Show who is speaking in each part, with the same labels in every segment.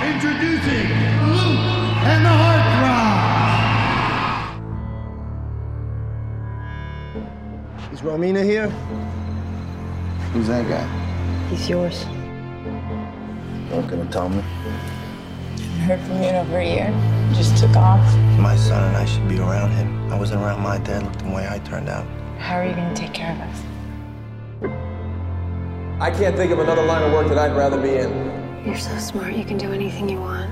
Speaker 1: Introducing Luke and the Heartthrob.
Speaker 2: Is Romina here? Who's that guy?
Speaker 3: He's yours.
Speaker 2: Not gonna tell me.
Speaker 3: Heard from you in over a year. Just took off.
Speaker 4: My son and I should be around him. I wasn't around my dad. Look the way I turned out.
Speaker 3: How are you going to take care of us?
Speaker 5: I can't think of another line of work that I'd rather be in.
Speaker 6: You're so smart, you can do anything you want.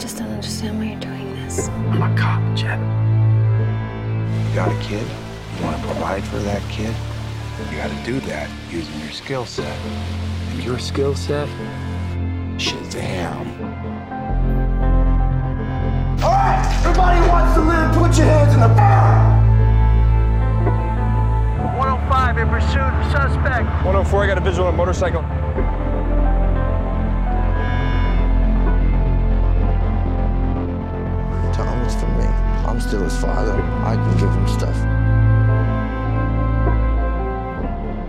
Speaker 6: Just don't understand why you're doing this.
Speaker 4: I'm a cop, Jed. You got a kid. You want to provide for that kid. You got to do that using your skill set. And your skill set? Shazam.
Speaker 2: Everybody wants to live, put your hands in the fire!
Speaker 7: 105 in pursuit of suspect.
Speaker 5: 104, I got a visual on motorcycle.
Speaker 4: Tom, it's for me. I'm still his father. I can give him stuff.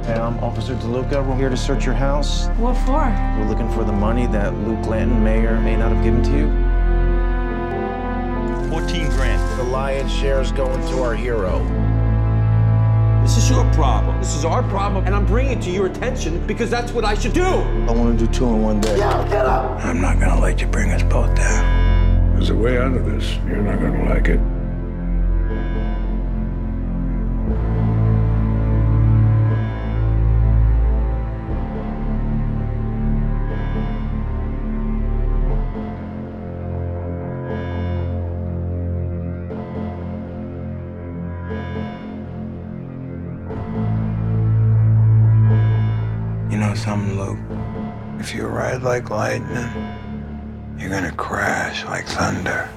Speaker 8: Hey, I'm Officer DeLuca. We're here to search your house.
Speaker 3: What for?
Speaker 8: We're looking for the money that Luke Lanton may or may not have given to you.
Speaker 9: 14 grand.
Speaker 8: The lion's share is going to our hero.
Speaker 5: This is your problem. This is our problem, and I'm bringing it to your attention because that's what I should do.
Speaker 4: I want to do two in one day. I'm not going to let you bring us both down.
Speaker 10: There's a way out of this. You're not going to like it.
Speaker 4: You know something, Luke? If you ride like lightning, you're going to crash like thunder.